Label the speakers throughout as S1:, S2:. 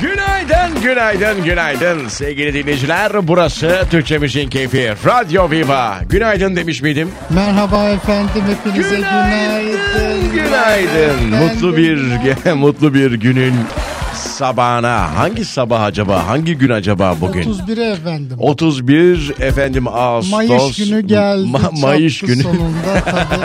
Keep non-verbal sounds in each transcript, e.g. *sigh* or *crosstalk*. S1: Günaydın, günaydın, günaydın sevgili dinleyiciler. Burası Türkçemizin keyfi Radyo Viva. Günaydın demiş miydim?
S2: Merhaba efendim hepinize günaydın.
S1: Günaydın, günaydın. Mutlu bir *laughs* mutlu bir günün sabahına. Hangi sabah acaba? Hangi gün acaba bugün?
S2: 31'e efendim.
S1: 31 efendim Ağustos.
S2: Mayıs günü geldi.
S1: Ma- Mayıs
S2: çattı
S1: günü. *laughs*
S2: Sonunda tabii.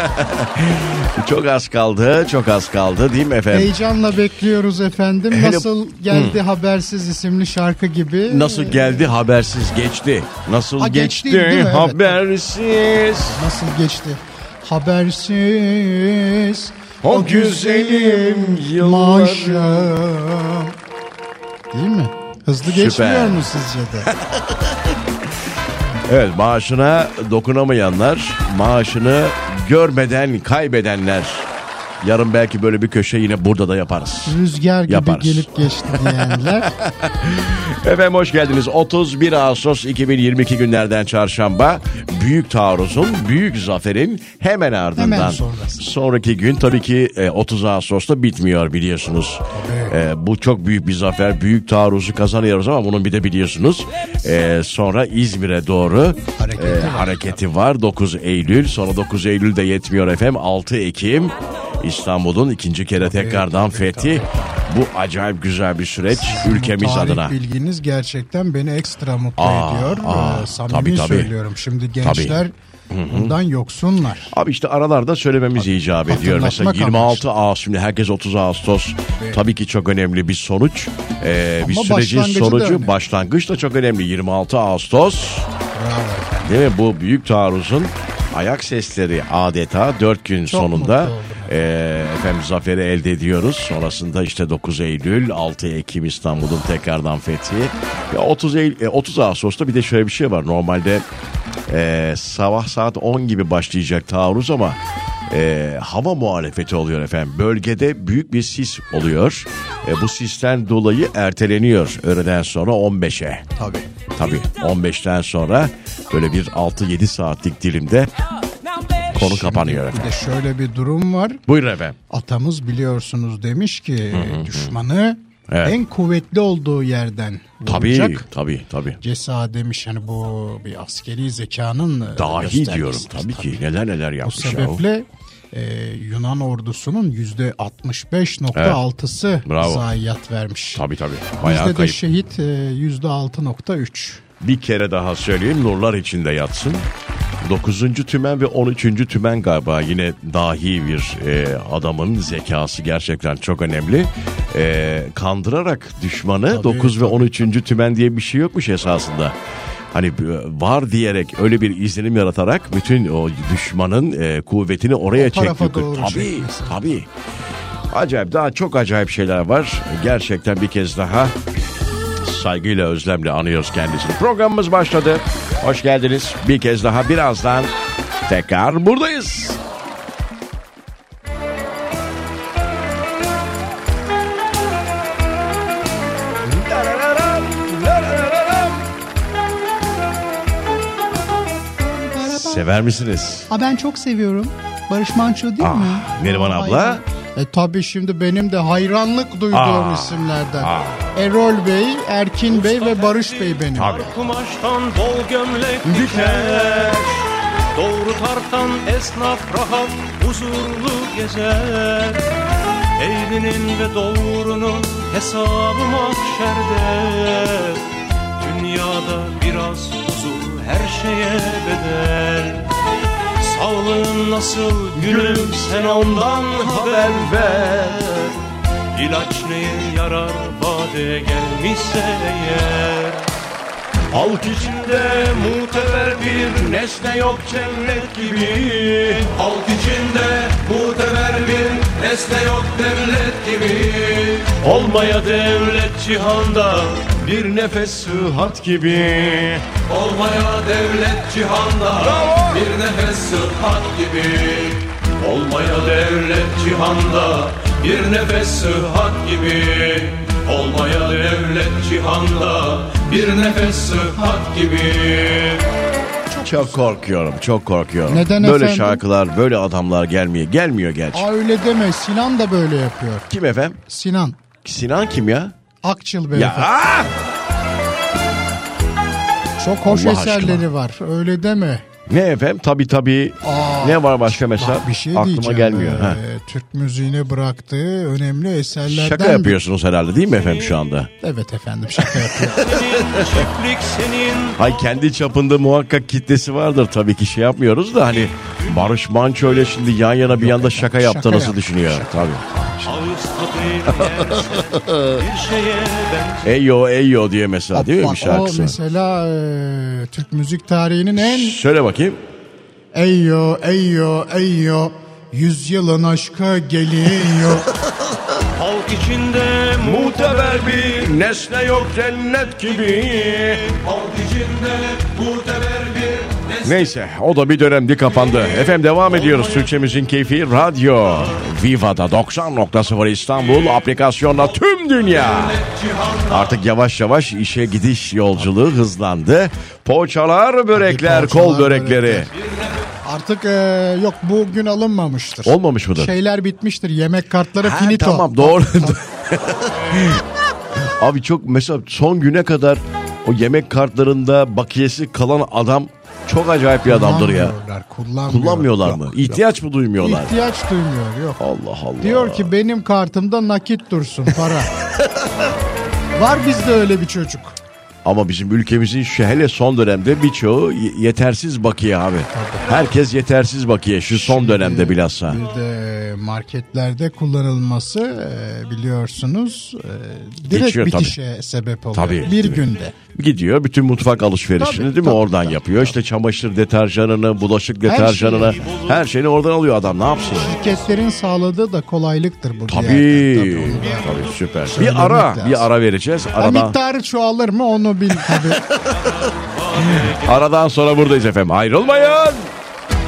S1: Çok az kaldı, çok az kaldı değil mi efendim?
S2: Heyecanla bekliyoruz efendim.
S1: Hele-
S2: Nasıl geldi habersiz isimli şarkı gibi.
S1: Nasıl geldi habersiz geçti. Nasıl
S2: Ha,
S1: geçti,
S2: geçti, değil mi? Evet.
S1: habersiz.
S2: Nasıl geçti? Habersiz
S1: O güzelim
S2: maaşım. Değil mi? Hızlı geçmiyor mu sizce de?
S1: Evet maaşına dokunamayanlar, maaşını görmeden kaybedenler. Yarın belki böyle bir köşe yine burada da yaparız.
S2: Rüzgar gibi
S1: Yaparız.
S2: gelip geçti diyenler.
S1: Efendim hoş geldiniz. 31 Ağustos 2022 günlerden çarşamba. Büyük taarruzun, büyük zaferin hemen ardından.
S2: Hemen sonrası.
S1: Sonraki gün tabii ki e, 30 Ağustos'ta bitmiyor biliyorsunuz. E, bu çok büyük bir zafer. Büyük taarruzu kazanıyoruz ama bunun bir de biliyorsunuz. e, sonra İzmir'e doğru e,
S2: Hareketi var.
S1: hareketi var. 9 Eylül. Sonra 9 Eylül de yetmiyor efendim. 6 Ekim. İstanbul'un ikinci kere tekrardan fethi. Bu acayip güzel bir süreç ülkemiz
S2: Tarih
S1: adına.
S2: bilginiz gerçekten beni ekstra mutlu
S1: Aa,
S2: ediyor.
S1: aa,
S2: Ee, Samimi
S1: tabii, tabii.
S2: söylüyorum. Şimdi gençler bundan yoksunlar.
S1: Abi işte aralarda söylememiz icap ediyor. Mesela
S2: hatırlatmak
S1: 26 Ağustos şimdi herkes 30 Ağustos tabii ki çok önemli bir sonuç. Ee, bir
S2: Ama
S1: sürecin
S2: başlangıcı da
S1: sonucu
S2: önemli.
S1: başlangıç da çok önemli. 26 Ağustos
S2: Bravo efendim.
S1: değil mi? Bu büyük taarruzun ayak sesleri adeta 4 gün sonunda
S2: mutlu oldum.
S1: ee, efendim zaferi elde ediyoruz. Sonrasında işte 9 Eylül, 6 Ekim İstanbul'un tekrardan fethi. Ve 30 Eylül, e, 30 Ağustos'ta bir de şöyle bir şey var. Normalde ee, sabah saat 10 gibi başlayacak taarruz ama ee, hava muhalefeti oluyor efendim. Bölgede büyük bir sis oluyor. E, bu sisten dolayı erteleniyor öğleden sonra 15'e. Tabii. Tabii 15'ten sonra böyle bir 6-7 saatlik dilimde konu kapanıyor efendim.
S2: Bir de şöyle bir durum var.
S1: Buyurun efendim.
S2: Atamız biliyorsunuz demiş ki düşmanı
S1: Evet.
S2: en kuvvetli olduğu yerden
S1: Tabii,
S2: vuracak.
S1: tabii, tabii.
S2: Cesa demiş hani bu bir askeri zekanın e,
S1: Dahi
S2: göstergesi.
S1: diyorum tabii ki. Neler neler
S2: Bu
S1: yapmış ya. o.
S2: sebeple e, Yunan ordusunun yüzde 65.6'sı
S1: Bravo.
S2: zayiat vermiş.
S1: Tabii tabii.
S2: Bizde
S1: Bayağı
S2: de
S1: kayıp.
S2: şehit e, yüzde 6.3.
S1: Bir kere daha söyleyeyim nurlar içinde yatsın. 9. tümen ve 13. tümen galiba yine dahi bir e, adamın zekası gerçekten çok önemli. E, kandırarak düşmanı 9 ve 13. tümen diye bir şey yokmuş esasında. Hani e, var diyerek öyle bir izlenim yaratarak bütün o düşmanın e, kuvvetini oraya
S2: O tarafa
S1: çekmek.
S2: doğru
S1: Tabii
S2: çekmesi.
S1: tabii. Acayip daha çok acayip şeyler var. Gerçekten bir kez daha saygıyla özlemle anıyoruz kendisini. Programımız başladı. Hoş geldiniz. Bir kez daha birazdan tekrar buradayız. Sever misiniz?
S2: Ha ben çok seviyorum. Barış Manço değil
S1: Ah, Neriman abla.
S2: Hayran. E tabi şimdi benim de hayranlık duyduğum
S1: Ah,
S2: isimlerden.
S1: ah.
S2: Erol Bey, Erkin Bey ve Barış Bey benim.
S1: Tabii.
S3: Kumaştan bol gömlek diker Doğru tartan esnaf rahat huzurlu gezer Eğrinin ve doğrunun hesabı mahşerde Dünyada biraz huzur her şeye bedel Sağlığın nasıl gülüm sen ondan haber ver İlaç neye yarar vade gelmişse eğer Halk içinde muteber bir nesne yok cennet gibi Halk içinde muteber bir nesne yok devlet gibi Olmaya devlet cihanda bir nefes sıhhat gibi Olmaya devlet cihanda bir nefes sıhhat gibi Olmaya devlet cihanda bir nefes sıhhat gibi Olmaya devlet cihanda bir nefes sıhhat gibi
S1: Çok korkuyorum, çok korkuyorum.
S2: Neden
S1: böyle
S2: efendim?
S1: şarkılar, böyle adamlar gelmiyor. Gelmiyor gerçi.
S2: Aa öyle deme Sinan da böyle yapıyor.
S1: Kim efendim?
S2: Sinan.
S1: Sinan kim ya?
S2: Akçıl beyefendi.
S1: Ya ah!
S2: Çok hoş
S1: Allah
S2: eserleri
S1: aşkına.
S2: var. Öyle deme.
S1: ne efendim? Tabii tabii.
S2: Aa,
S1: ne var başka mesela?
S2: Bak bir şey
S1: Aklıma
S2: diyeceğim.
S1: gelmiyor.
S2: Ee,
S1: Ha.
S2: Türk müziğine bıraktığı önemli eserlerden
S1: Şaka
S2: biri.
S1: yapıyorsunuz herhalde değil mi efendim şu anda?
S2: Evet efendim şaka yapıyorum.
S3: Senin çiftlik senin
S1: Hay kendi çapında muhakkak kitlesi vardır tabii ki şey yapmıyoruz da hani Barış Manço ile şimdi yan yana bir yanda şaka yaptı
S2: şaka
S1: nasıl
S2: yaptı,
S1: düşünüyor? Tabii.
S3: ağız tadıyla yerse bir şeye benzer.
S1: Eyo eyo diye mesela değil mi bir
S2: Bak, o
S1: şarkısı?
S2: mesela e, Türk müzik tarihinin en
S1: Söyle bakayım.
S2: Eyyo eyyo eyyo Yüzyılın aşkı geliyor.
S3: Halk içinde muteber
S1: bir nesne yok cennet gibi.
S3: Halk içinde muteber bir nesne
S1: Neyse o da bir dönemdi kapandı. Efendim devam ediyoruz. Türkçemizin keyfi radyo. Viva'da 90.0 İstanbul aplikasyonla tüm dünya. Artık yavaş yavaş işe gidiş yolculuğu hızlandı. Poğaçalar, börekler, kol börekleri.
S2: Artık e, yok bugün alınmamıştır.
S1: Olmamış mıdır?
S2: Şeyler bitmiştir. Yemek kartları
S1: Ha,
S2: finito.
S1: Tamam doğru. *laughs* Abi çok mesela son güne kadar o yemek kartlarında bakiyesi kalan adam çok acayip bir adamdır ya.
S2: Kullanmıyorlar, kullanmıyor.
S1: Kullanmıyorlar mı?
S2: Yok,
S1: İhtiyaç mı
S2: yok.
S1: duymuyorlar?
S2: İhtiyaç duymuyor yok.
S1: Allah Allah.
S2: Diyor ki benim kartımda nakit dursun
S1: *laughs*
S2: para. Var bizde öyle bir çocuk.
S1: Ama bizim ülkemizin şu hele son dönemde birçoğu y- yetersiz bakiye abi. Herkes yetersiz bakiye şu son dönemde bilhassa.
S2: Bir de marketlerde kullanılması e, biliyorsunuz e, direkt
S1: Geçiyor, tabii.
S2: bitişe sebep oluyor.
S1: Tabii,
S2: bir
S1: tabii.
S2: günde.
S1: Gidiyor bütün mutfak alışverişini
S2: Tabii,
S1: değil mi
S2: tabii,
S1: oradan
S2: tabii,
S1: yapıyor. İşte çamaşır deterjanını, bulaşık deterjanını her,
S2: şeyi
S1: şeyini oradan alıyor adam ne yapsın?
S2: Şirketlerin sağladığı da kolaylıktır bu bir
S1: Tabii.
S2: yerden.
S1: Tabii,
S2: onu da-
S1: süper.
S2: Söylemek
S1: Bir ara,
S2: lazım.
S1: bir ara vereceğiz.
S2: Ha,
S1: Aradan,
S2: miktarı çoğalır mı onu bil
S1: *laughs*
S2: tabii.
S1: aradan sonra buradayız efendim. Ayrılmayın.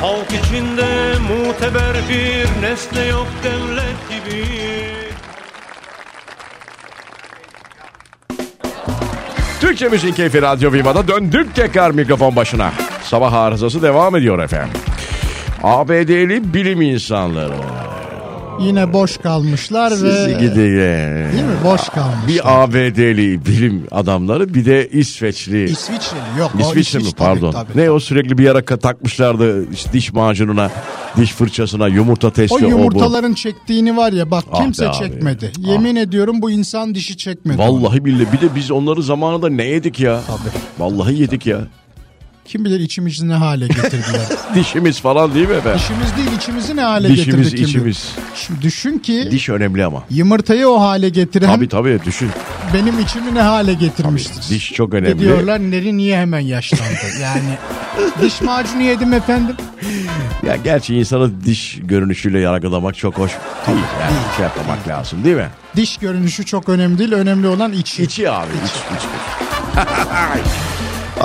S3: Halk içinde muteber bir nesne yok devlet gibi
S1: Türkçe Müzik Keyfi Radyo Viva'da döndük tekrar mikrofon başına. Sabah arızası devam ediyor efendim. ABD'li bilim insanları.
S2: Yine boş kalmışlar ve
S1: Sizi
S2: değil
S1: gidin.
S2: mi? Boş kalmış.
S1: Bir ABD'li bilim adamları bir de İsveçli.
S2: İsviçreli yok. o
S1: İsviçre mi
S2: İsviç tabii,
S1: pardon.
S2: tabii.
S1: Ne o sürekli bir yere ka- takmışlardı işte diş macununa, diş fırçasına, yumurta testi
S2: O
S1: bu.
S2: yumurtaların çektiğini var ya bak
S1: Ah be
S2: kimse
S1: abi.
S2: çekmedi. Yemin ediyorum bu insan dişi çekmedi. onu.
S1: Vallahi billahi bir de biz onları zamanında ne yedik ya?
S2: Tabii.
S1: Vallahi yedik ya.
S2: Kim bilir içimizi ne
S1: *laughs*
S2: hale getirdiler.
S1: Dişimiz falan değil mi efendim?
S2: Dişimiz değil içimizi ne hale
S1: Dişimiz,
S2: getirdi kim bilir.
S1: içimiz.
S2: Şimdi düşün ki
S1: Diş önemli ama.
S2: yumurtayı o hale getiren
S1: Tabii tabii düşün.
S2: benim içimi ne hale getirmiştir.
S1: Diş çok
S2: Ve
S1: önemli.
S2: diyorlar Neri niye hemen yaşlandı? Yani diş macunu yedim efendim.
S1: Ya gerçi insanı diş görünüşüyle yargılamak çok hoş değil. Yani şey yapmak lazım değil mi?
S2: Diş görünüşü çok önemli değil. Önemli olan içi.
S1: İçi abi. iç, iç.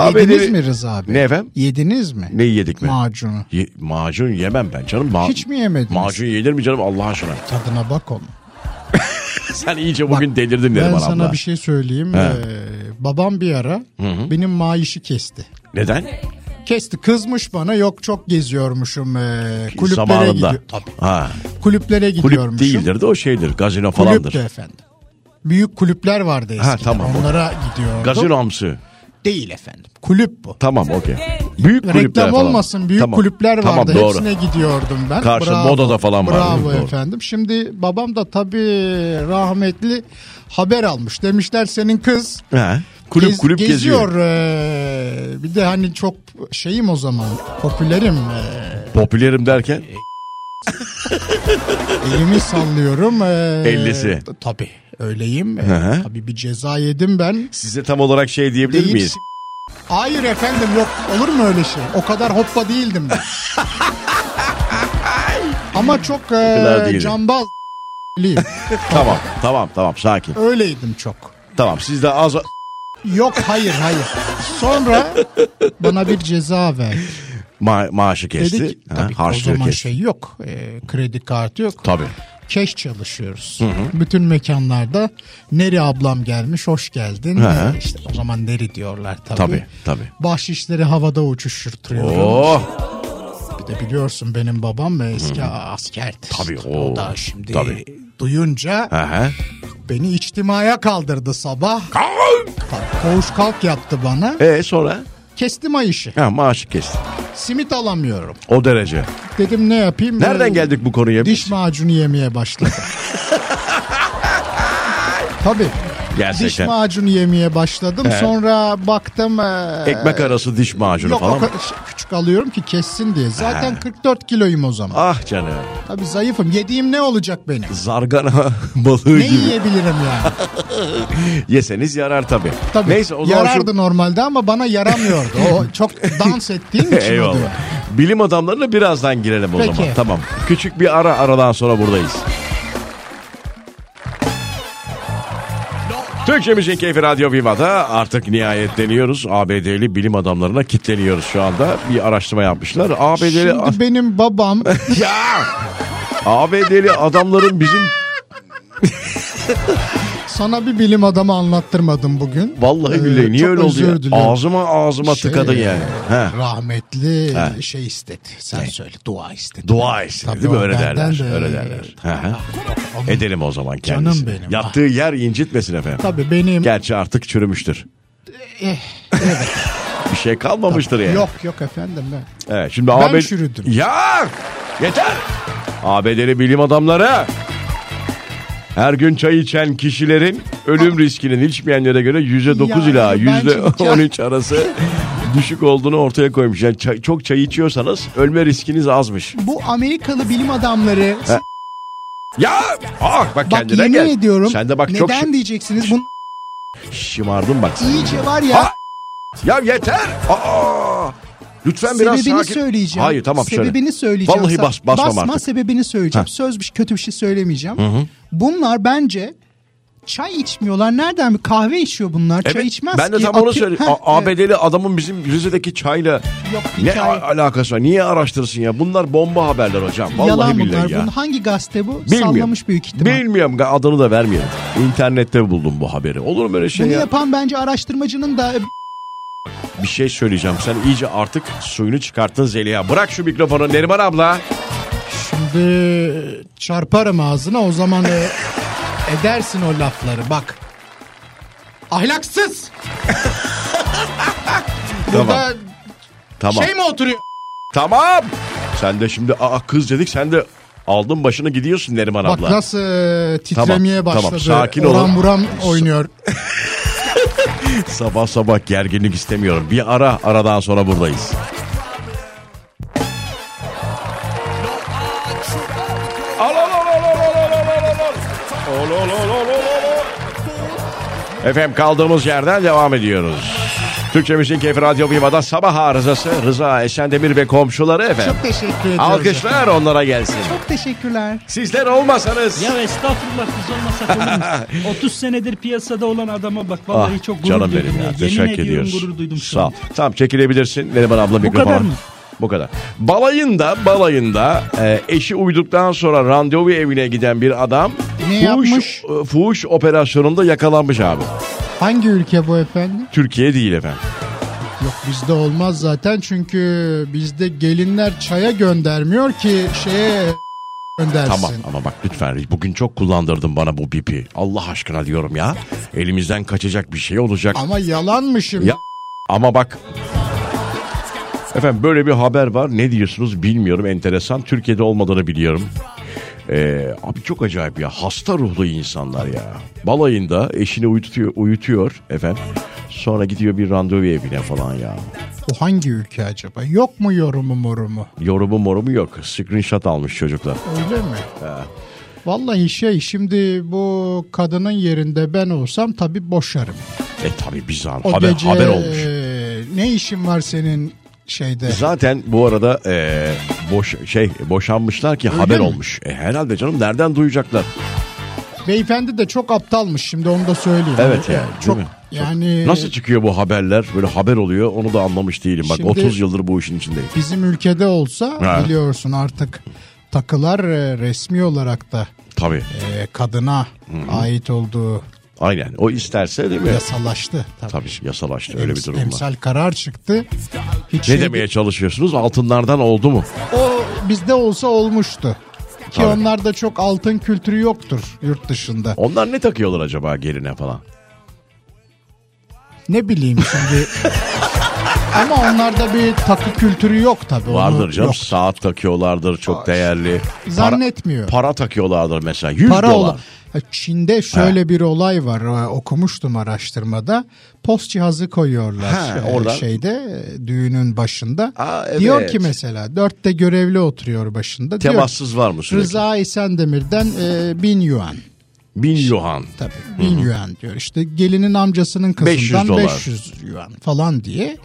S2: Yediniz
S1: dedi-
S2: mi Rıza abi?
S1: Ne efendim?
S2: Yediniz mi?
S1: Neyi yedik mi?
S2: Macunu.
S1: Ye- macun yemem ben canım. Ma-
S2: Hiç mi yemediniz?
S1: Macun yenir mi canım Allah aşkına? *laughs*
S2: Tadına bak oğlum.
S1: Sen iyice bugün
S2: Bak,
S1: delirdin derim
S2: Ben
S1: bana.
S2: sana bir şey söyleyeyim. Ee, babam bir ara benim maaşı kesti.
S1: Neden?
S2: Kesti. Kızmış bana. Yok çok geziyormuşum. ee, kulüplere
S1: Zamanında.
S2: gidiyor. Tabii.
S1: Ha,
S2: Kulüplere
S1: kulüp
S2: gidiyormuşum.
S1: değildir de o şeydir. Gazino
S2: Kulüp
S1: falandır.
S2: de efendim. Büyük kulüpler vardı eskiden.
S1: tamam.
S2: Onlara gidiyordum.
S1: Gazinomsu.
S2: Değil efendim. Kulüp bu.
S1: Tamam okey. Büyük kulüpler
S2: Reklam
S1: falan.
S2: olmasın büyük
S1: Tamam,
S2: kulüpler
S1: tamam,
S2: vardı.
S1: doğru.
S2: Hepsine gidiyordum ben.
S1: Karşı Moda'da falan vardı.
S2: Bravo
S1: Doğru.
S2: efendim. Şimdi babam da tabii rahmetli haber almış. Demişler senin kız
S1: He. Kulüp
S2: gez-
S1: kulüp geziyor.
S2: geziyor. Ee, bir de hani çok şeyim o zaman popülerim. Ee,
S1: Popülerim derken
S2: E,
S1: *laughs*
S2: elimi sallıyorum. Ee,
S1: Ellisi.
S2: Tabii öyleyim. Ee,
S1: hı.
S2: tabii bir ceza yedim ben.
S1: size tam olarak şey diyebilir
S2: Değil,
S1: miyiz?
S2: s- Hayır efendim yok olur mu öyle şey? O kadar hoppa değildim
S1: *laughs*
S2: ben. Ama çok
S1: kadar
S2: e,
S1: değildim.
S2: cambaz liyim.
S1: Tamam tamam tamam sakin.
S2: Öyleydim çok.
S1: Tamam siz de az...
S2: Yok hayır hayır. Sonra bana bir ceza verdi.
S1: Ma- maaşı kesti.
S2: Dedi ki
S1: Ha,
S2: tabii o
S1: harçlığı
S2: zaman
S1: kesti.
S2: şey yok. e, kredi kartı yok.
S1: Tabii.
S2: Keş çalışıyoruz. Bütün mekanlarda Neri ablam gelmiş hoş geldin.
S1: Hı hı.
S2: E, işte o zaman Neri diyorlar tabii.
S1: Tabii, tabii.
S2: Bahşişleri havada uçuşturtuyoruz.
S1: Oo,
S2: Bir de E, biliyorsun benim babam eski askerdir.
S1: Tabii,
S2: O
S1: oo.
S2: da şimdi
S1: Tabii.
S2: duyunca
S1: aha.
S2: Beni içtimaya kaldırdı sabah. Kalk, Koğuş kalk yaptı bana.
S1: E sonra?
S2: Kestim ay işi.
S1: Ha maaşı kestin.
S2: Simit alamıyorum.
S1: O derece.
S2: Dedim ne yapayım?
S1: Nereden
S2: Ee,
S1: geldik bu konuya?
S2: Diş
S1: Biz?
S2: macunu
S1: *laughs*
S2: yemeye başladım. Tabii. Diş
S1: Gerçekten.
S2: macunu yemeye başladım. Sonra baktım. ee,
S1: Ekmek arası diş macunu
S2: Yok
S1: falan.
S2: o kadar şey- küçük alıyorum ki kessin diye. Zaten 44 kiloyum o zaman.
S1: Ah canım.
S2: Tabii zayıfım. Yediğim ne olacak benim?
S1: Zargana *laughs* balığı
S2: Ne
S1: gibi.
S2: yiyebilirim
S1: *laughs*
S2: yani?
S1: Yeseniz yarar tabii.
S2: Tabii
S1: Neyse o zaman şu-
S2: yarardı normalde ama bana yaramıyordu. O çok
S1: *laughs*
S2: dans ettiğim için oluyor.
S1: Eyvallah. Bilim adamlarına birazdan girelim o
S2: Peki.
S1: zaman. Tamam. Küçük bir ara aradan sonra buradayız. Türkçe Müzik Keyfi Radyo Viva'da artık nihayetleniyoruz. ABD'li bilim adamlarına kitleniyoruz şu anda. Bir araştırma yapmışlar. ABD'li...
S2: Şimdi benim babam
S1: *laughs* ya! ABD'li adamların bizim...
S2: sana bir bilim adamı anlattırmadım bugün.
S1: Vallahi
S2: Ee,
S1: billahi niye
S2: çok
S1: öyle oldu
S2: özür
S1: ya?
S2: diliyorum.
S1: Ağzıma ağzıma
S2: Şey,
S1: tıkadı yani. He.
S2: Rahmetli şey istedi. Sen söyle dua istedi.
S1: Dua etsin
S2: Tabii
S1: değil mi?
S2: o
S1: Öyle
S2: benden
S1: derler.
S2: de-
S1: Öyle derler. Hı hı. Edelim o zaman
S2: Canım
S1: kendisi.
S2: benim.
S1: Yattığı yer incitmesin efendim.
S2: Tabii benim
S1: Gerçi artık çürümüştür. *laughs* Bir şey kalmamıştır yani.
S2: Eh, yok yok efendim ben.
S1: Evet, şimdi
S2: Ben
S1: AB...
S2: çürüdüm.
S1: Ya! Yeter! ABD'li bilim adamları her gün çay içen kişilerin ölüm riskinin içmeyenlere göre %9 ila
S2: Ya, Ah. ben
S1: *laughs* %13 arası düşük olduğunu ortaya koymuş. Yani çay- çok çay içiyorsanız ölme riskiniz azmış.
S2: Bu Amerikalı bilim adamları
S1: Ya! Ah bak,
S2: bak
S1: kendine
S2: yemin
S1: gel.
S2: ediyorum
S1: Sen de bak
S2: neden
S1: çok şi-
S2: diyeceksiniz bunu
S1: şımardın bak. sen.
S2: iyice var ya
S1: Ha, Ya yeter! Aa! Lütfen biraz
S2: sebebini
S1: sakin.
S2: söyleyeceğim.
S1: Hayır tamam söyle.
S2: Sebebini söyleyeceğim.
S1: Vallahi
S2: Sen-
S1: bas- basmam
S2: Basma
S1: artık.
S2: sebebini söyleyeceğim.
S1: Heh.
S2: Söz bir kötü bir şey söylemeyeceğim. Bunlar bence çay içmiyorlar. Nereden bir kahve içiyor bunlar. çay
S1: Evet,
S2: içmez
S1: ben de
S2: ki.
S1: tam onu
S2: Atı-
S1: söylüyorum.
S2: Heh,
S1: A-
S2: evet.
S1: ABD'li adamın bizim Rize'deki çayla
S2: Yok,
S1: ne
S2: hikaye.
S1: a- alakası var? Niye araştırsın ya? Bunlar bomba haberler hocam. Vallahi
S2: Yalan
S1: billahi
S2: bunlar.
S1: ya.
S2: Bunun hangi gazete bu?
S1: Bilmiyorum.
S2: Sallamış büyük ihtimal.
S1: Bilmiyorum adını da vermeyelim. İnternette buldum bu haberi. Olur mu öyle şey
S2: Bunu
S1: ya?
S2: yapan bence araştırmacının da
S1: Bir şey söyleyeceğim. Sen iyice artık suyunu çıkarttın Zeliha. Bırak şu mikrofonu Neriman abla.
S2: şimdi çarparım ağzına o zaman e, edersin o lafları bak.
S1: *laughs*
S2: Ahlaksız. Burada
S1: Tamam.
S2: şey mi oturuyor?
S1: Tamam. Sen de şimdi aa kız dedik sen de aldın başını gidiyorsun Neriman
S2: Bak
S1: abla.
S2: nasıl e, titremeye
S1: Tamam,
S2: başladı.
S1: tamam, sakin olun.
S2: Oran buram oynuyor.
S1: Sabah sabah gerginlik istemiyorum. Bir ara aradan sonra buradayız. Al, al, al, al, al, al, al, al, al, al. Al, al, al, al, al, al. Efendim kaldığımız yerden devam ediyoruz. Türkçe Müzik Keyfi Radyo Viva'da sabah arızası Rıza Eşendemir ve komşuları efendim.
S2: Çok teşekkür ediyoruz.
S1: Alkışlar onlara gelsin.
S2: Çok teşekkürler.
S1: Sizler olmasanız.
S3: Ya estağfurullah biz olmasak olur
S1: *laughs*
S3: mu? 30 senedir piyasada olan adama bak
S1: Ah,
S3: vallahi çok gurur
S1: canım
S3: duydum.
S1: benim ya.
S3: Yemin
S1: Teşekkür
S3: ediyorum
S1: ediyoruz.
S3: gurur duydum şu
S1: Sağ ol.
S3: an.
S1: Tamam çekilebilirsin. Neriman abla mikrofonu.
S3: kadar mı?
S1: Bu kadar. Balayında, balayında e, eşi uyduktan sonra randevu evine giden bir adam
S2: Ne
S1: fuhuş,
S2: yapmış?
S1: e, fuhuş operasyonunda yakalanmış abi.
S2: Hangi ülke bu efendim?
S1: Türkiye değil efendim.
S2: Yok bizde olmaz zaten çünkü bizde gelinler çaya göndermiyor ki şeye göndersin.
S1: Tamam ama bak lütfen bugün çok kullandırdın bana bu bipi. Allah aşkına diyorum ya. Elimizden kaçacak bir şey olacak.
S2: Ama yalanmışım.
S1: Ya ama bak Efendim böyle bir haber var. Ne diyorsunuz bilmiyorum. Enteresan. Türkiye'de olmadığını biliyorum. Ee, abi çok acayip ya. Hasta ruhlu insanlar ya. Balayında eşini uyutuyor, uyutuyor efendim. Sonra gidiyor bir randevu evine falan ya.
S2: Bu hangi ülke acaba? Yok mu yorumu morumu?
S1: Yorumu morumu yok. Screenshot almış çocuklar.
S2: Öyle mi? Vallahi şey şimdi bu kadının yerinde ben olsam tabii boşarım.
S1: E tabi bizar.
S2: O
S1: Haber,
S2: gece, e,
S1: haber olmuş.
S2: Ne işin var senin şeyde?
S1: Zaten bu arada e, boş şey boşanmışlar ki haber
S2: mi?
S1: olmuş. E, herhalde canım nereden duyacaklar?
S2: Beyefendi de çok aptalmış şimdi onu da söyleyeyim.
S1: Evet yani,
S2: Ee, Çok
S1: değil mi?
S2: yani
S1: Nasıl çıkıyor bu haberler? Böyle haber oluyor. Onu da anlamış değilim. Bak
S2: Şimdi-
S1: 30 yıldır bu işin içindeyim.
S2: bizim ülkede olsa
S1: Ha.
S2: biliyorsun artık takılar e, resmi olarak da
S1: Tabii.
S2: e, kadına ait olduğu
S1: Aynen. O isterse değil mi?
S2: yasalaştı. Tabii.
S1: Tabii yasalaştı öyle bir
S2: Ems-
S1: durum var.
S2: Emsal karar çıktı. Hiç
S1: Ne
S2: şey-
S1: demeye çalışıyorsunuz? Altınlardan oldu mu?
S2: O bizde olsa olmuştu. ki
S1: Tabii.
S2: onlarda çok altın kültürü yoktur yurt dışında.
S1: Onlar ne takıyorlar acaba geline falan?
S2: Ne bileyim
S1: *laughs*
S2: şimdi. Ama onlarda bir takı kültürü yok tabii. onu-
S1: Vardır canım
S2: yok.
S1: saat takıyorlardır çok değerli.
S2: Zannetmiyor.
S1: Para, para takıyorlardır mesela 100
S2: para
S1: dolar.
S2: olan. Ha, Çin'de şöyle bir olay var e, okumuştum araştırmada. Post cihazı koyuyorlar
S1: Ha,
S2: e,
S1: oradan.
S2: şeyde e, düğünün başında.
S1: Aa, evet.
S2: Diyor ki mesela dörtte görevli oturuyor başında. Diyor ki,
S1: Temassız var mı sürekli?
S2: Rıza İsendemir'den e, bin yuan.
S1: Bin yuan.
S2: Tabii bin yuan diyor işte gelinin amcasının
S1: 500
S2: kızından
S1: dolar.
S2: 500, yuan falan diye.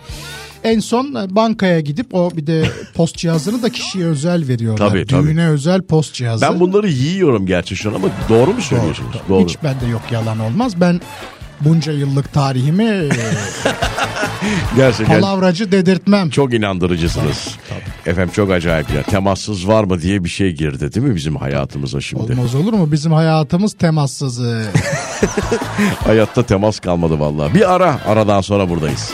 S2: En son e, bankaya gidip o bir de post cihazını da kişiye özel veriyorlar.
S1: Tabii, tabii.
S2: Düğüne özel post cihazı.
S1: Ben bunları yiyorum gerçi şu an ama doğru mu söylüyorsunuz? Doğru.
S2: Hiç bende yok yalan olmaz. Ben bunca yıllık
S1: *laughs*
S2: tarihimi *laughs* e,
S1: Gerçekten
S2: palavracı dedirtmem.
S1: çok inandırıcısınız. Efendim çok acayip ya. Temassız var mı diye bir şey girdi değil mi bizim hayatımıza şimdi?
S2: Olmaz olur mu? Bizim hayatımız temassız. e.
S1: Hayatta temas kalmadı vallahi. Bir ara, aradan sonra buradayız.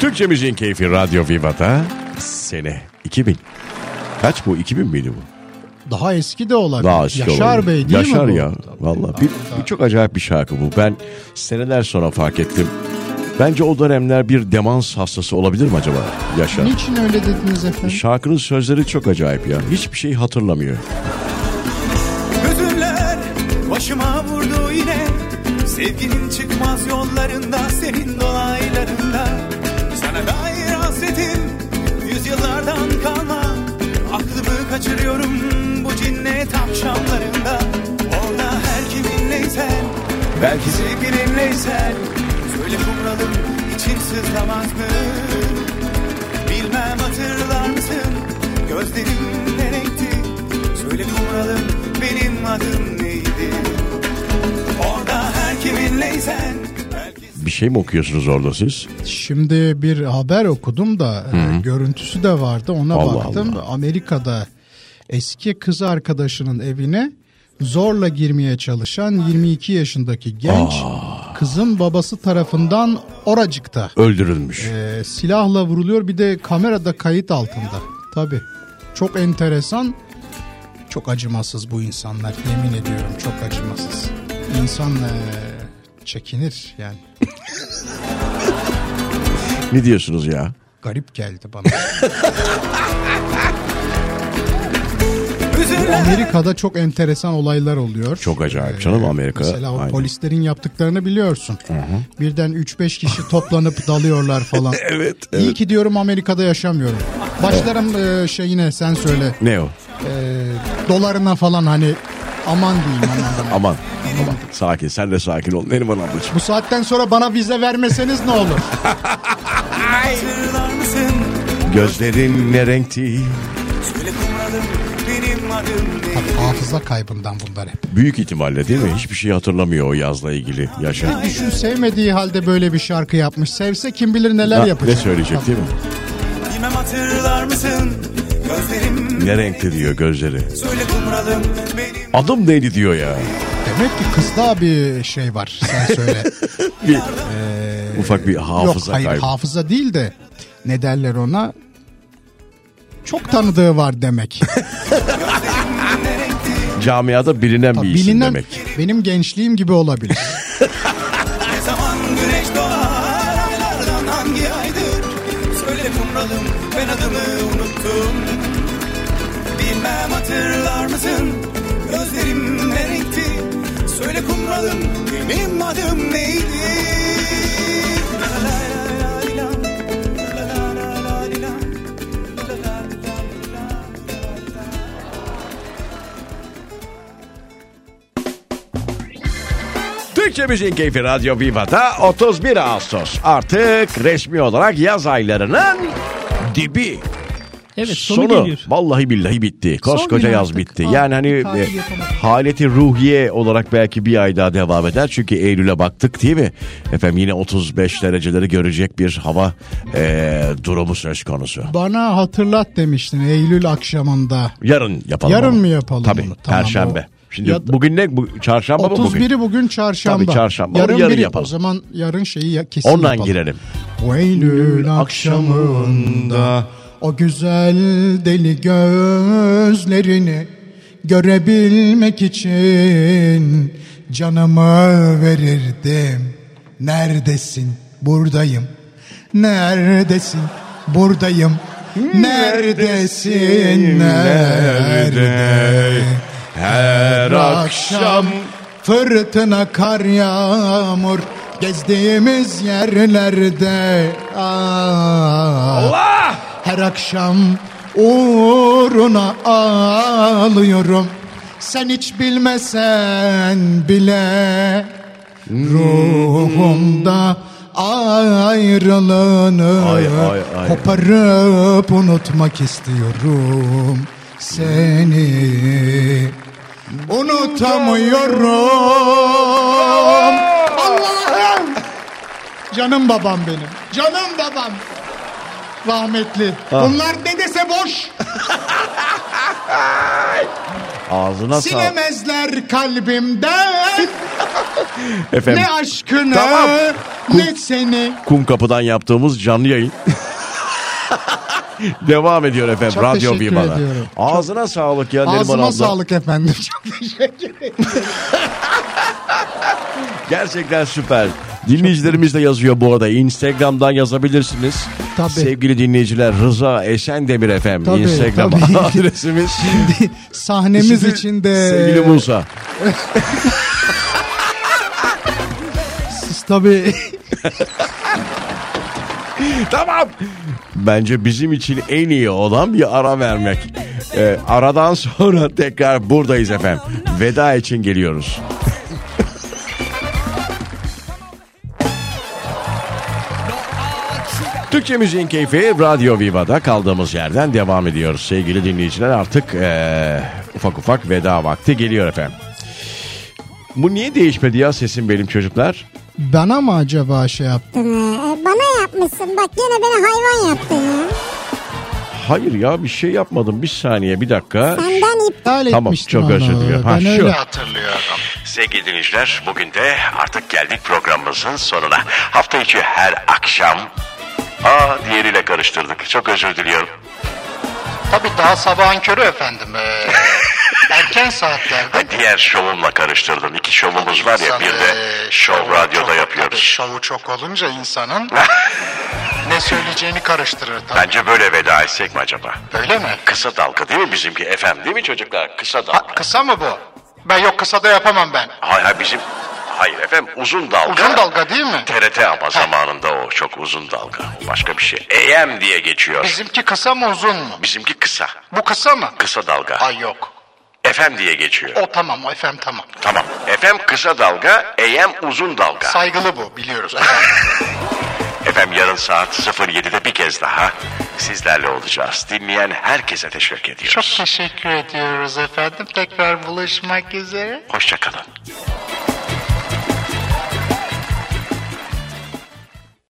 S1: Türkçe Müziğin Keyfi Radyo Viva'da sene 2000. Kaç bu? 2000 miydi bu?
S2: Daha eski de olabilir.
S1: Daha eski
S2: Yaşar
S1: olabilir.
S2: Bey değil
S1: Yaşar
S2: mi bu?
S1: ya. Vallahi bir, bir çok acayip bir şarkı bu. Ben seneler sonra fark ettim. Bence o dönemler bir demans hastası olabilir mi acaba Yaşar?
S2: Niçin öyle dediniz efendim?
S1: Şarkının sözleri çok acayip ya. Hiçbir şey hatırlamıyor.
S4: Hüzünler başıma vurdu yine Sevginin çıkmaz yollarında senin dolaylarında Sana dair hasretim yüzyıllardan kalma Aklımı kaçırıyorum bu cinnet akşamlarında Orada her kiminleysen belki sevgilimleysen Söyle kumralım için sızlamaz mı? Bilmem hatırlar mısın Gözlerim ne renkti Söyle kumralım benim adım neydi Orada her kiminleysen belki
S1: Bir şey mi okuyorsunuz orada siz?
S2: Şimdi bir haber okudum da e, görüntüsü de vardı ona
S1: Allah
S2: baktım. Amerika'da eski kız arkadaşının evine zorla girmeye çalışan 22 yaşındaki genç kızın babası tarafından oracıkta
S1: Öldürülmüş.
S2: e, silahla vuruluyor bir de kamerada kayıt altında. Tabi çok enteresan çok acımasız bu insanlar yemin ediyorum çok acımasız. İnsan e, çekinir yani
S1: Ne diyorsunuz ya?
S2: garip geldi
S1: *laughs*
S2: bana.
S4: Hüzünler
S2: Amerika'da çok enteresan olaylar oluyor.
S1: Çok acayip canım Amerika.
S2: ee, Mesela o
S1: Aynen.
S2: polislerin yaptıklarını biliyorsun. Birden 3-5 kişi
S1: *laughs*
S2: toplanıp dalıyorlar falan.
S1: Evet,
S2: İyi ki diyorum Amerika'da yaşamıyorum. Başlarım e, şey yine sen söyle.
S1: Ne o?
S2: E, dolarına falan hani aman diyeyim aman. aman.
S1: Aman. Aman. Sakin. Sen de sakin ol. Neriman ablacığım.
S2: Bu saatten sonra bana vize vermeseniz ne olur?
S4: hatırlar mısın
S1: Gözlerin ne renkti?
S4: Söyle kumralım benim adım neydi
S2: Hafıza kaybından bunlar hep.
S1: Büyük ihtimalle değil mi? Hiçbir şey hatırlamıyor o yazla ilgili yaşa.
S2: Düşün sevmediği halde böyle bir şarkı yapmış. Sevse kim bilir neler
S1: Ne,
S2: yapacak.
S1: ne söyleyecek değil mi?
S4: Bilmem hatırlar mısın Gözlerim
S1: Ne renkti diyor gözleri.
S4: Söyle kumralım benim
S1: Adım neydi diyor ya.
S2: Demek ki kızda bir şey var. Sen söyle.
S1: Bir, ufak bir *laughs* hafıza
S2: Yok hayır
S1: kaybı.
S2: hafıza değil de ne derler ona? Çok tanıdığı var demek.
S4: ne renkti
S1: Camiada bilinen bir isim
S2: Bilinen
S1: demek.
S2: benim gençliğim gibi olabilir.
S4: Ne zaman güneş doğar aylardan hangi aydır Söyle kumralım ben adımı unuttum Bilmem hatırlar mısın gözlerim ne renkti Söyle kumralım benim adım neydi La la la la la la, la la la la la, la la la la la.
S1: Türkçe Müziğin Keyfi Radyo Viva'da 31 Ağustos. Artık resmi olarak yaz aylarının dibi.
S3: Evet sonu, geliyor.
S1: vallahi billahi bitti. Koskoca
S3: gün
S1: yaz
S3: artık.
S1: bitti.
S3: Aa,
S1: yani hani
S3: tarih
S1: e,
S3: yapamadık.
S1: haleti ruhiye olarak belki bir ay daha devam eder. Çünkü Eylül'e baktık değil mi? Efendim yine 35 dereceleri görecek bir hava e, durumu söz konusu.
S2: Bana hatırlat demiştin Eylül akşamında.
S1: Yarın yapalım.
S2: Yarın
S1: ama.
S2: mı yapalım
S1: Tabii.
S2: bunu? Tamam,
S1: Perşembe.
S2: o-
S1: Şimdi
S2: Ya da-
S1: bugün ne? Bu, çarşamba mı bugün?
S2: 31'i bugün çarşamba.
S1: Tabii, çarşamba.
S2: Yarın,
S1: Onu yarın
S2: biri-
S1: yapalım.
S2: O zaman yarın şeyi ya, kesin
S1: Ondan
S2: yapalım.
S1: girelim.
S2: O Eylül akşamında O güzel deli gözlerini görebilmek için canımı verirdim. Neredesin? Buradayım. Neredesin? Buradayım. Neredesin? Nerede?
S1: Her
S2: akşam fırtına kar yağmur gezdiğimiz yerlerde ah,
S1: Allah!
S2: her akşam uğruna ağlıyorum sen hiç bilmesen bile ruhumda ayrılığını
S1: Ay, ay, ay.
S2: koparıp unutmak istiyorum seni Unutamıyorum. Allah'ım. Canım babam benim. Canım babam. Rahmetli. Bunlar ne dese boş.
S1: Ağzına sağlık.
S2: Silemezler kalbimden.
S1: Efendim
S2: ne aşkını.
S1: Tamam.
S2: Ne seni.
S1: kum kapıdan yaptığımız canlı yayın. *laughs* Devam ediyor efendim
S2: Çok
S1: Radyo
S2: teşekkür
S1: Viva'da.
S2: ediyorum.
S1: Ağzına sağlık ya Neriman
S2: Ağzıma
S1: abla.
S2: sağlık efendim. *laughs* Çok teşekkür ederim.
S1: Gerçekten süper. Dinleyicilerimiz de yazıyor bu arada. Instagram'dan yazabilirsiniz.
S2: Tabii.
S1: Sevgili dinleyiciler Rıza Eşendemir efendim.
S2: Tabii,
S1: Instagram *laughs*
S2: tabii.
S1: adresimiz.
S2: Sahnemiz
S1: Şimdi
S2: için de
S1: Sevgili Musa.
S2: siz tabii *laughs*
S1: Tamam. Bence bizim için en iyi olan bir ara vermek. Ee, aradan sonra *laughs* tekrar buradayız efendim. Veda için geliyoruz. *laughs* Türkçe Müziğin Keyfi Radyo Viva'da kaldığımız yerden devam ediyoruz. Sevgili dinleyiciler artık ee, ufak ufak veda vakti geliyor efendim. Bu niye değişmedi ya sesim benim çocuklar?
S2: bana mı acaba şey yaptı?
S5: yaptın ha. Bana yapmışsın. Bak gene beni hayvan yaptın ya.
S1: Hayır ya bir şey yapmadım. Bir saniye bir dakika.
S5: Benden ip
S2: İptal
S1: Tamam,
S2: etmiştim
S1: çok
S2: onu.
S1: özür diliyorum. Ha,
S2: Ben
S1: şu.
S2: öyle
S6: Sevgili dinleyiciler bugün de artık geldik programımızın sonuna. Hafta içi her akşam... Aa diğeriyle karıştırdık. Çok özür diliyorum.
S7: Tabii daha sabahın körü efendim. Ee, erken saatlerde.
S6: Ha, diğer şovumla karıştırdın. İki şovumuz var ya
S7: İnsan,
S6: bir de
S7: ee,
S6: şov
S7: şovu
S6: radyoda
S7: çok-
S6: yapıyoruz.
S7: Şovu çok olunca insanın ne söyleyeceğini karıştırır tabii.
S6: Bence böyle veda etsek mi acaba?
S7: Öyle mi?
S6: Kısa dalga değil mi bizimki efendim değil mi çocuklar? Kısa
S7: Ha,
S6: dalga.
S7: kısa mı bu? Ben yok kısa da yapamam ben.
S6: Hayır hayır, bizim... Hayır efendim uzun dalga.
S7: Uzun dalga değil mi?
S6: TRT ama zamanında o çok uzun dalga. Başka bir şey. EM diye geçiyor.
S7: Bizimki kısa mı uzun mu?
S6: Bizimki kısa.
S7: Bu kısa mı?
S6: Kısa dalga.
S7: Ay yok.
S6: FM diye geçiyor.
S7: O tamam o efendim tamam.
S6: Tamam. FM kısa dalga, AM uzun dalga.
S7: Saygılı bu biliyoruz.
S6: FM yarın saat 07'de bir kez daha sizlerle olacağız. Dinleyen herkese teşekkür ediyoruz.
S7: çok teşekkür ediyoruz efendim. Tekrar buluşmak üzere.
S6: Hoşçakalın.